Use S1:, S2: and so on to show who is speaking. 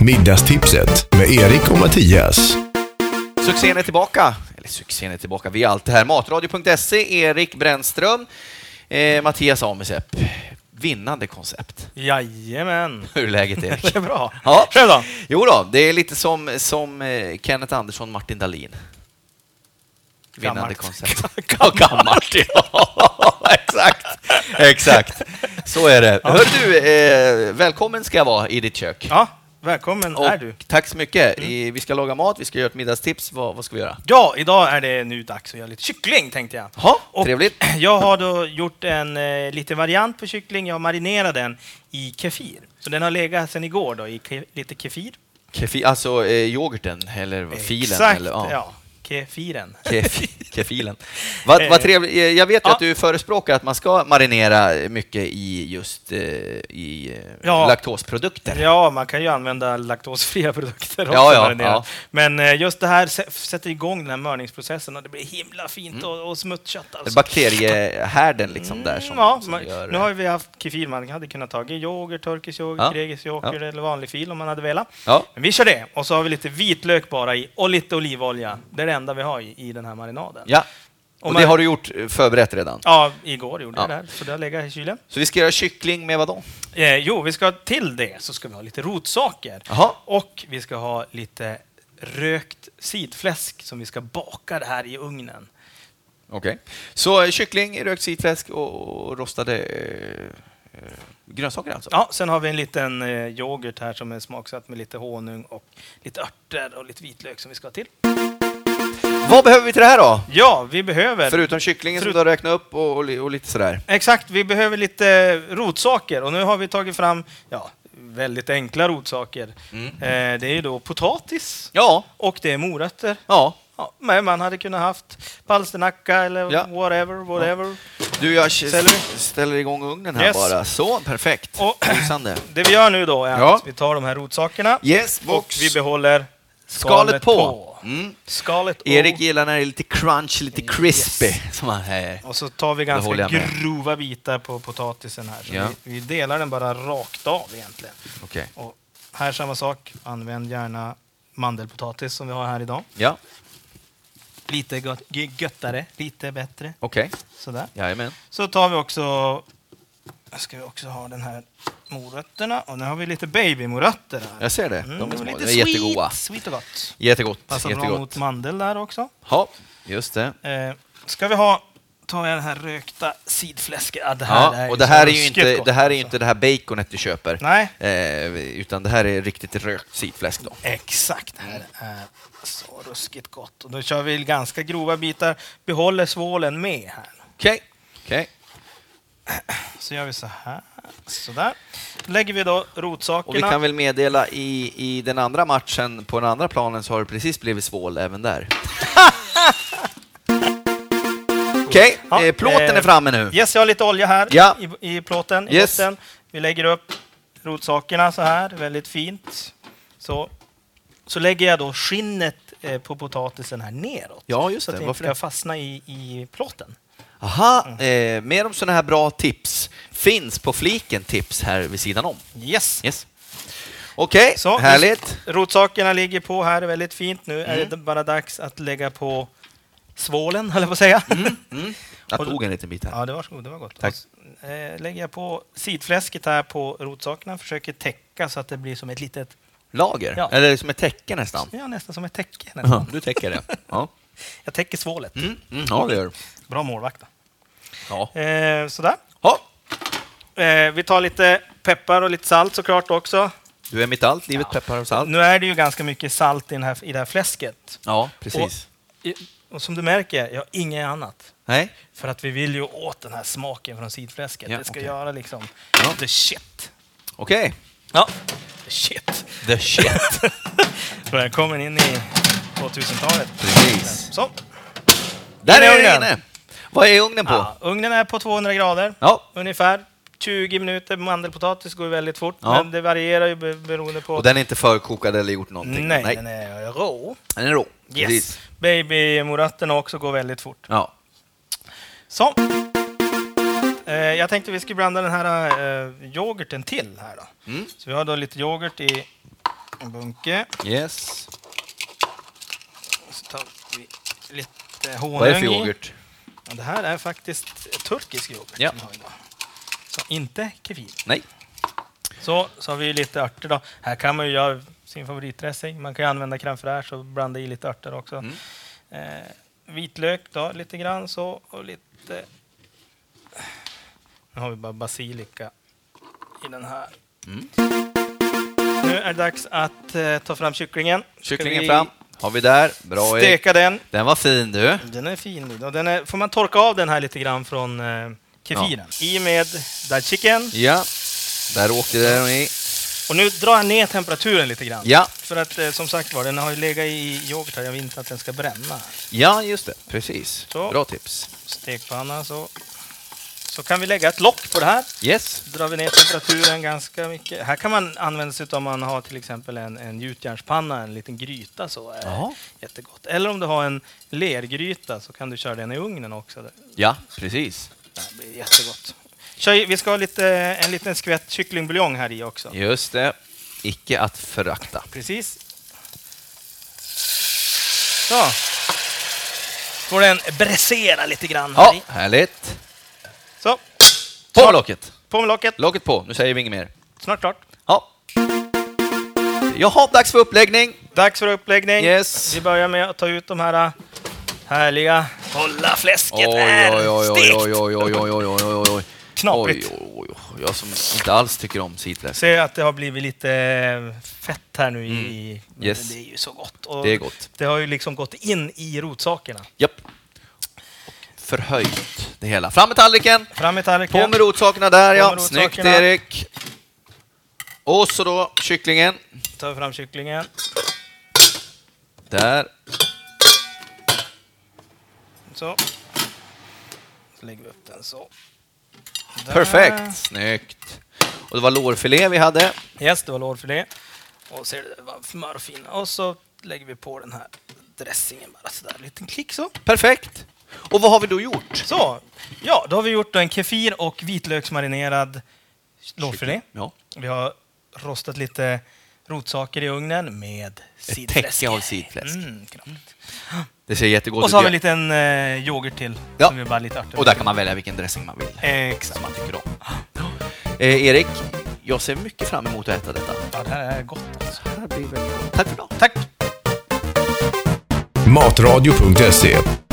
S1: Middagstipset med Erik och Mattias.
S2: Succén är tillbaka. Eller succén är tillbaka. Vi är alltid här. Matradio.se, Erik Brännström, eh, Mattias Amesepp. Vinnande koncept.
S3: Jajamän.
S2: Hur är läget Erik?
S3: Det är bra.
S2: Ja.
S3: Själv då?
S2: Jo då, det är lite som, som eh, Kenneth Andersson, Martin Dahlin. Vinnande
S3: Gammalt.
S2: koncept. Ja, gammalt. Ja, exakt. Exakt. Så är det. Hör du, eh, välkommen ska jag vara i ditt kök.
S3: Ja, välkommen
S2: Och
S3: är du. Mm.
S2: Tack så mycket. I- Vi ska laga mat, vi ska göra ett middagstips. Vad, vad ska vi göra?
S3: Ja, idag är det nu dags att göra lite kyckling tänkte jag.
S2: Ja,
S3: Och
S2: trevligt.
S3: Jag har då gjort en eh, liten variant på kyckling. Jag marinerar den i kefir. Så den har legat sedan igår då i ke- lite kefir.
S2: Kefi, alltså eh, yoghurten eller filen?
S3: Exakt,
S2: eller,
S3: ja.
S2: ja.
S3: Kefiren.
S2: Kefi, kefilen. Vad, vad
S3: Eh,
S2: trevligt. Eh, Jag vet ju
S3: ja.
S2: att du förespråkar att man ska marinera mycket i just eh, i eh,
S3: Ja.
S2: laktosprodukter.
S3: Ja, man kan ju använda laktosfria produkter också.
S2: Ja, ja,
S3: marinera.
S2: ja.
S3: Men eh, just det här sä- sätter igång den här mörningsprocessen och det blir himla fint
S2: Mm.
S3: och, och smutskött. Alltså.
S2: Bakteriehärden liksom där som,
S3: Mm, ja,
S2: som
S3: man,
S2: gör...
S3: nu har vi haft kefir. Man hade kunnat ta yoghurt, turkisk yoghurt,
S2: Ja.
S3: grekisk yoghurt eller vanlig fil om man hade velat.
S2: Ja.
S3: Men vi kör det. Och så har vi lite vitlök bara i och lite olivolja. Det är det enda vi har i, i den här marinaden.
S2: ja.
S3: Och
S2: Och
S3: man-
S2: det har du gjort eh, förberett redan.
S3: Ja, igår gjorde jag
S2: Ja.
S3: det där, så det har legat i kylen.
S2: Så vi ska göra kyckling med vad då?
S3: Eh, jo, vi ska till det så ska vi ha lite rotsaker.
S2: Jaha.
S3: Och vi ska ha lite rökt sidfläsk som vi ska baka det här i ugnen.
S2: Okej. Så eh, kyckling, rökt sitfläsk och, och rostade eh, eh, grönsaker alltså?
S3: Ja, sen har vi en liten eh, yoghurt här som är smaksatt med lite honung och lite örter och lite vitlök som vi ska ha till.
S2: Vad behöver vi till det här då?
S3: Ja, vi behöver...
S2: Förutom kycklingen som
S3: Förut-
S2: du har räknat upp och, och, li- och lite sådär.
S3: Exakt, vi behöver lite rotsaker och nu har vi tagit fram ja, väldigt enkla rotsaker. Eh, det är ju då potatis
S2: Mm. Ja,
S3: och det är morötter.
S2: ja.
S3: Ja, men man hade kunnat haft palsternacka eller
S2: Ja.
S3: whatever, whatever.
S2: Du, jag k-
S3: Selleri.
S2: ställer igång ugnen här
S3: Yes.
S2: bara. Så, perfekt.
S3: Och-
S2: Lysande.
S3: Det vi gör nu då är
S2: Ja.
S3: att vi tar de här rotsakerna
S2: Yes,
S3: och
S2: box.
S3: vi behåller skalet,
S2: Skalet
S3: på.
S2: på. Mm.
S3: Skalet på.
S2: Erik gillar när det är lite crunch, lite crispy. Som han säger.
S3: Och så tar
S2: håller
S3: vi ganska
S2: jag med.
S3: grova bitar på potatisen här. Så
S2: Ja.
S3: vi, vi delar den bara rakt av egentligen.
S2: Okej.
S3: Och här samma sak. Använd gärna mandelpotatis som vi har här idag.
S2: Ja,
S3: Lite gott, gö- göttare, lite bättre.
S2: okej.
S3: Sådär.
S2: Jajamän.
S3: Så tar vi också... här Ska vi också ha den här morötterna. Och nu har vi lite babymorötter här.
S2: Jag ser det.
S3: Mm,
S2: De är
S3: och
S2: små.
S3: lite
S2: De är jättegoda.
S3: Sweet, sweet och gott.
S2: Jättegott.
S3: Passar bra mot
S2: Jättegott.
S3: mandel där också.
S2: Ja, just det.
S3: Eh, ska vi ha... Tar jag den här rökta sidfläsket. Ja, det här
S2: Ja,
S3: ju
S2: och det
S3: så
S2: här är ju
S3: ruskigt
S2: inte
S3: gott
S2: det, här är ju
S3: alltså.
S2: inte det här baconet du köper.
S3: Nej.
S2: Eh, utan det här är riktigt rökt sidfläsk då.
S3: Exakt, det här är så ruskigt gott. Och då kör vi ganska grova bitar, behåller svålen med här.
S2: Okej. Okej.
S3: Så gör vi så här, sådär. Lägger vi då rotsakerna.
S2: Och vi kan väl meddela i, i den andra matchen på den andra planen så har det precis blivit svål även där. Okej,
S3: Ja,
S2: eh, plåten
S3: eh,
S2: är framme nu.
S3: Yes, jag har lite olja här
S2: Ja.
S3: i, i plåten. I
S2: Yes.
S3: botten. Vi lägger upp rotsakerna så här, väldigt fint. Så, så lägger jag då skinnet eh, på potatisen här neråt.
S2: Ja, just
S3: så att
S2: det.
S3: det
S2: Varför
S3: inte ska fastna i, i plåten.
S2: Aha, eh, mer om sådana här bra tips finns på fliken tips här vid sidan om.
S3: Yes.
S2: Yes. Okej,
S3: Så,
S2: härligt. Mm.
S3: just- Rotsakerna ligger på här, är väldigt fint. Nu är det bara dags att lägga på svålen, höll jag på att säga.
S2: Jag
S3: och-
S2: tog en liten bit här.
S3: Ja, det var, så- det var gott.
S2: Mm, Tack.
S3: Och s- eh, lägger jag på sidfläsket här på rotsakerna, försöker täcka så att det blir som ett litet,
S2: Lager,
S3: Ja.
S2: eller som ett täcke nästan.
S3: ja nästan som ett täcke. Nästan.
S2: Ja, Du täcker det. Ja,
S3: Jag täcker svålet.
S2: mm, mm, ja det gör du.
S3: Bra målvakt. då.
S2: Ja.
S3: Eh, sådär.
S2: Ja,
S3: Eh, vi tar lite peppar och lite salt såklart också.
S2: du är mitt allt, livet peppar och salt.
S3: Nu är det ju ganska mycket salt i, den här, i det här fläsket.
S2: Ja, precis.
S3: Och, i- och som du märker, jag har inget annat.
S2: Nej,
S3: För att vi vill ju åt den här smaken från sidfläsket.
S2: Ja,
S3: det ska
S2: okej.
S3: göra liksom
S2: Ja.
S3: the shit.
S2: okej.
S3: Ja. The shit.
S2: The shit.
S3: Välkommen in i 2000-talet.
S2: Precis.
S3: Så.
S2: Där
S3: Där är
S2: är den
S3: ugnen.
S2: inne. Vad är ugnen på?
S3: Ja, ugnen är på 200 grader
S2: Ja.
S3: ungefär. 20 minuter mandelpotatis går ju väldigt fort,
S2: Ja.
S3: men det varierar ju be- beroende på...
S2: Och den är inte förkokad eller gjort någonting?
S3: nej, den är rå.
S2: Den är rå.
S3: Yes. Babymorötterna också går väldigt fort.
S2: Ja.
S3: Så. Eh, jag tänkte
S2: Mm.
S3: vi skulle blanda den här eh, yoghurten till här då. Så vi har då lite yoghurt i En bunke.
S2: Yes.
S3: Så tar vi lite
S2: Vad är det för
S3: honung i.
S2: yoghurt?
S3: Ja, Det här är faktiskt turkisk yoghurt.
S2: Ja.
S3: vi har idag. Så inte kefir.
S2: Nej.
S3: Så, så har vi lite örter då. Här kan man ju göra sin favoritdressing. Man kan ju använda crème fraîche och blanda i lite örter också.
S2: Mm.
S3: Eh, vitlök då, lite grann så och lite... Nu har vi bara basilika i den här.
S2: Mm.
S3: Nu är det dags att eh, ta fram kycklingen. Ska
S2: Kycklingen
S3: vi
S2: fram. Har vi där. Bra Erik.
S3: Steka den.
S2: Den var fin du.
S3: Den är fin. Lid, Och den är, får man torka av den här lite grann från eh, kefiren. I med dajiken.
S2: Ja. Där åkte den i.
S3: Och nu drar jag ner temperaturen lite grann.
S2: Ja.
S3: För att eh, som sagt var, den har ju legat i yoghurt här. Jag vill inte att den ska bränna.
S2: Ja, just det. Precis.
S3: Så.
S2: Bra tips.
S3: Stekpanna så. Så kan vi lägga ett lock på det här.
S2: Yes.
S3: Så drar vi ner temperaturen ganska mycket. Här kan man använda sig av om man har till exempel en, en gjutjärnspanna, en liten gryta så. eh,
S2: Jaha.
S3: Jättegott. Eller om du har en lergryta så kan du köra den i ugnen också. Det
S2: Ja, precis.
S3: det blir jättegott. Kör, i- vi ska ha lite, en liten skvätt kycklingbuljong här i också.
S2: Just det. Icke att förakta.
S3: Precis. Så. Får den bräsera lite grann här
S2: Ja,
S3: i.
S2: härligt.
S3: Så,
S2: På med locket!
S3: på med locket.
S2: Locket på. Nu säger vi inget mer.
S3: Snart klart.
S2: Ja. Jaha, dags för uppläggning.
S3: Dags för uppläggning.
S2: Yes.
S3: Vi börjar med att ta ut de här äh, härliga... Kolla fläsket
S2: oj, oj, oj, oj, oj, oj, oj.
S3: Knaprigt.
S2: Oj, oj, oj. Jag som inte alls tycker om citrus.
S3: Ser att det har blivit lite eh, fett här nu i... men
S2: Mm. Yes.
S3: Det är ju så gott. Och
S2: Det är gott.
S3: Det har ju liksom gått in i rotsakerna.
S2: Japp. Och Förhöjt det hela. Fram med tallriken!
S3: Fram med tallriken.
S2: På med rotsakerna där
S3: På
S2: ja.
S3: med
S2: Snyggt
S3: rotsakerna.
S2: Erik! Och så då kycklingen.
S3: tar vi fram kycklingen.
S2: Där.
S3: Så. så lägger vi upp den så. Där.
S2: Perfekt! Snyggt. Och det var lårfilé vi hade.
S3: Yes, det var lårfilé. Och ser du, det var smör och fina. Och så lägger vi på den här dressingen bara sådär. En liten klick så.
S2: Perfekt! Och vad har vi då gjort?
S3: Så! Ja, då har vi gjort då en kefir och vitlöksmarinerad lårfilé.
S2: Ja.
S3: Vi har rostat lite rotsaker i ugnen med sidfläsk.
S2: täcke av sidfläsk.
S3: Mm, knappt.
S2: Det ser jättegott
S3: och så har
S2: ut.
S3: vi en liten eh, yoghurt till.
S2: Ja.
S3: Som vi bara lite örter
S2: Och där kan man välja vilken dressing man vill.
S3: Typ. Exakt.
S2: Som man tycker om. Eh, Erik, jag ser mycket fram emot att äta detta.
S3: Ja, det här är gott alltså.
S2: Tack för idag.
S1: Matradio.se